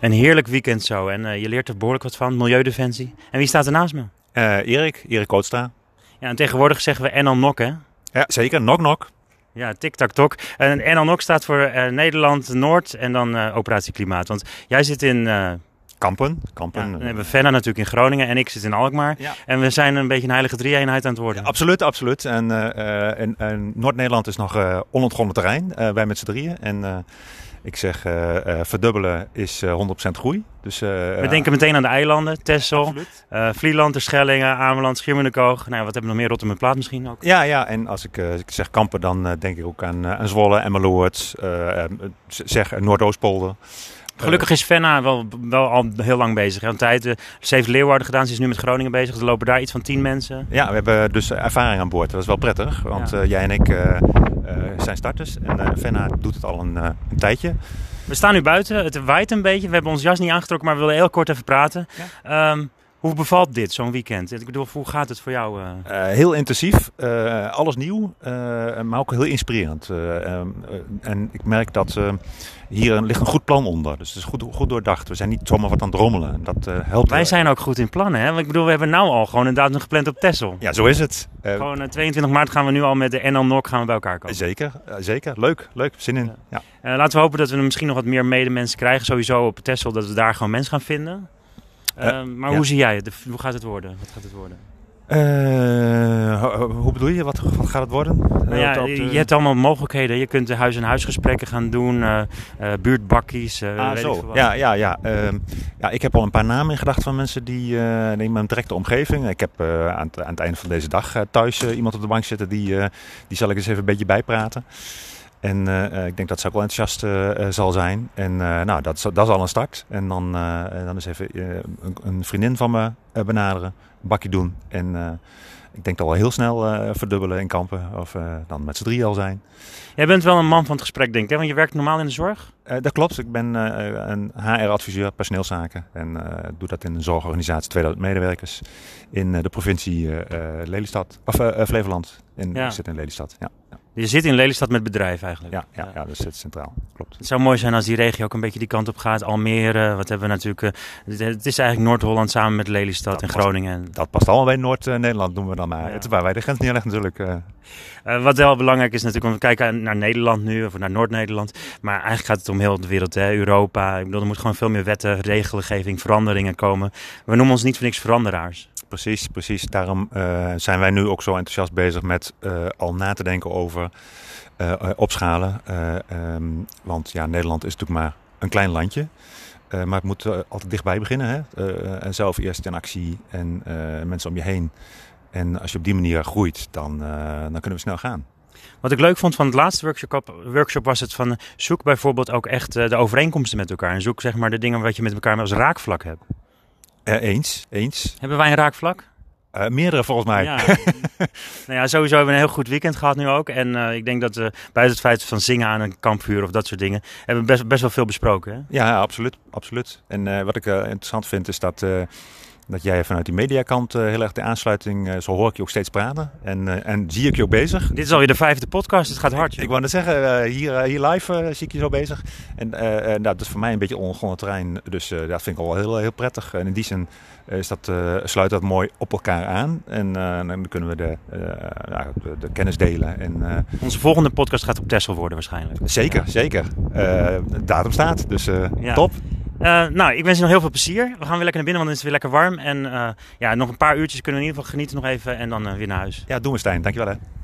een heerlijk weekend zo. En eh, je leert er behoorlijk wat van, milieudefensie. En wie staat er naast me? Eh, Erik, Erik Kootstra. Ja, en tegenwoordig zeggen we Enal Nok, hè? Ja, zeker. Nok nok. Ja, tik-tak-tok. En Enal Nok staat voor eh, Nederland, Noord en dan eh, Operatie Klimaat. Want jij zit in, eh, Kampen. ja, Kampen. dan hebben we Fenna natuurlijk in Groningen en ik zit in Alkmaar. Ja. En we zijn een beetje een heilige drie-eenheid aan het worden. Absoluut, absoluut. En, eh, eh, en, en Noord-Nederland is nog eh, onontgonnen terrein. Eh, wij met z'n drieën. En eh, ik zeg, eh, eh, verdubbelen is eh, 100% groei. Dus, eh, we denken meteen aan de eilanden, Texel, absoluut. eh Vlieland, Terschellingen, Ameland, Schiermonnikoog. Nou, ja, wat hebben we nog meer? Rotterdam en Plaat misschien ook. Ja, ja, en als ik, eh, als ik zeg kampen, dan eh, denk ik ook aan, eh, aan Zwolle, Emmeloord, eh eh, z- zeg eh, Noordoostpolder. Eh. Gelukkig is Fenna wel, wel al heel lang bezig. hè. Want hij heeft, eh, ze heeft Leeuwarden gedaan, ze is nu met Groningen bezig. Er lopen daar iets van tien mensen. Ja, we hebben dus ervaring aan boord. Dat is wel prettig, want Ja. eh, jij en ik eh, eh, zijn starters. En eh Venna doet het al een, eh, een tijdje. We staan nu buiten, het waait een beetje. We hebben ons jas niet aangetrokken, maar we willen heel kort even praten. Ehm, hoe bevalt dit, zo'n weekend? Ik bedoel, hoe gaat het voor jou? eh? Eh, heel intensief, eh, alles nieuw, eh, maar ook heel inspirerend. Eh, ehm, eh, en ik merk dat eh, hier ligt een goed plan onder. Dus het is goed, goed doordacht. We zijn niet zomaar wat aan het rommelen. Dat eh, helpt. Wij wel. zijn ook goed in plannen, hè? Want ik bedoel, we hebben nou al gewoon inderdaad nog gepland op Texel. Ja, zo is het. Eh, Gewoon eh, 22 maart gaan we nu al met de NL NOC gaan we bij elkaar komen. zeker, eh, zeker. Leuk, leuk. Zin in. Ja. Eh, laten we hopen dat we er misschien nog wat meer medemensen krijgen. Sowieso op Texel, dat we daar gewoon mensen gaan vinden. Eh, Ehm, maar ja. hoe zie jij het? De- Hoe gaat het worden? Wat gaat het worden? Eh, ho- ho- hoe bedoel je? Wat, wat gaat het worden? Nou ja, Eh, op de- je hebt allemaal mogelijkheden. Je kunt huis-aan-huis gesprekken gaan doen, eh eh, buurtbakkies. eh, Ah, weet ik veel zo. wat. Ja, ja, ja. Ehm, ja. Ik heb al een paar namen in gedachten van mensen die eh in mijn directe omgeving. Ik heb eh, aan, het, aan het einde van deze dag eh, thuis eh, iemand op de bank zitten. Die, eh, die zal ik eens even een beetje bijpraten. En eh, eh, ik denk dat ze ook wel enthousiast eh, eh, zal zijn. En eh, nou, dat, is- dat is al een start. En dan, eh, en dan eens even eh, een, een vriendin van me eh, benaderen. Een bakje doen. En eh, ik denk dat we al heel snel eh, verdubbelen in kampen. Of eh, dan met z'n drie al zijn. Jij bent wel een man van het gesprek, denk ik. Hè? Want je werkt normaal in de zorg. Eh, dat klopt. Ik ben eh, een HR-adviseur personeelszaken en eh, doe dat in een zorgorganisatie 2000 medewerkers in eh, de provincie eh, eh, Lelystad of eh, eh, Flevoland. In, Ja. Ik zit in Lelystad. Ja, Je zit in Lelystad met bedrijven eigenlijk. ja, ja, ja, dat zit centraal. Klopt. Het zou mooi zijn als die regio ook een beetje die kant op gaat. Almere, wat hebben we natuurlijk. eh, het- het is eigenlijk Noord-Holland samen met Lelystad Dat en past. Groningen. Dat past allemaal bij Noord-Nederland, noemen we dan maar. Ja. Het is waar wij de grens neerleggen natuurlijk. eh. Eh, wat wel belangrijk is natuurlijk, want we kijken naar Nederland nu, of naar Noord-Nederland. Maar eigenlijk gaat het om heel de wereld, hè? Europa. Ik bedoel, er moet gewoon veel meer wetten, regelgeving, veranderingen komen. We noemen ons niet voor niks veranderaars. Precies, precies. Daarom eh, zijn wij nu ook zo enthousiast bezig met eh, al na te denken over eh, eh, opschalen. Eh, ehm, want ja, Nederland is natuurlijk maar een klein landje. Eh, maar het moet eh, altijd dichtbij beginnen. Hè? Eh, en zelf eerst in actie en eh, mensen om je heen. En als je op die manier groeit, dan, eh, dan kunnen we snel gaan. Wat ik leuk vond van het laatste workshop, workshop was het van eh, zoek bijvoorbeeld ook echt eh, de overeenkomsten met elkaar. En zoek zeg maar de dingen wat je met elkaar als raakvlak hebt. Eh, eens, eens. Hebben wij een raakvlak? Eh, meerdere volgens mij. Ja. nou ja, sowieso hebben we een heel goed weekend gehad nu ook. En eh, ik denk dat we buiten het feit van zingen aan een kampvuur of dat soort dingen, hebben we best, best wel veel besproken. Hè? Ja, ja, absoluut. absoluut. En eh, wat ik eh, interessant vind is dat, eh, dat jij vanuit die mediakant eh, heel erg de aansluiting, eh, zo hoor ik je ook steeds praten en, eh, en zie ik je ook bezig. Dit is alweer de vijfde podcast, dus het gaat hard. joh. Ik wou net zeggen, eh, hier, eh, hier live eh, zie ik je zo bezig. En eh, eh, nou, dat is voor mij een beetje ongewoon terrein, dus eh, dat vind ik al wel heel, heel prettig. En in die zin eh, is dat, eh, sluit dat mooi op elkaar aan en eh, dan kunnen we de, eh, nou, de, de kennis delen. En, eh, Onze volgende podcast gaat op Texel worden waarschijnlijk. zeker, zeker. Eh, de datum staat, dus eh, Ja. top. Eh, nou, ik wens je nog heel veel plezier. We gaan weer lekker naar binnen, want het is weer lekker warm. En eh, ja, nog een paar uurtjes kunnen we in ieder geval genieten nog even en dan eh, weer naar huis. Ja, doen we Stijn. Dankjewel hè.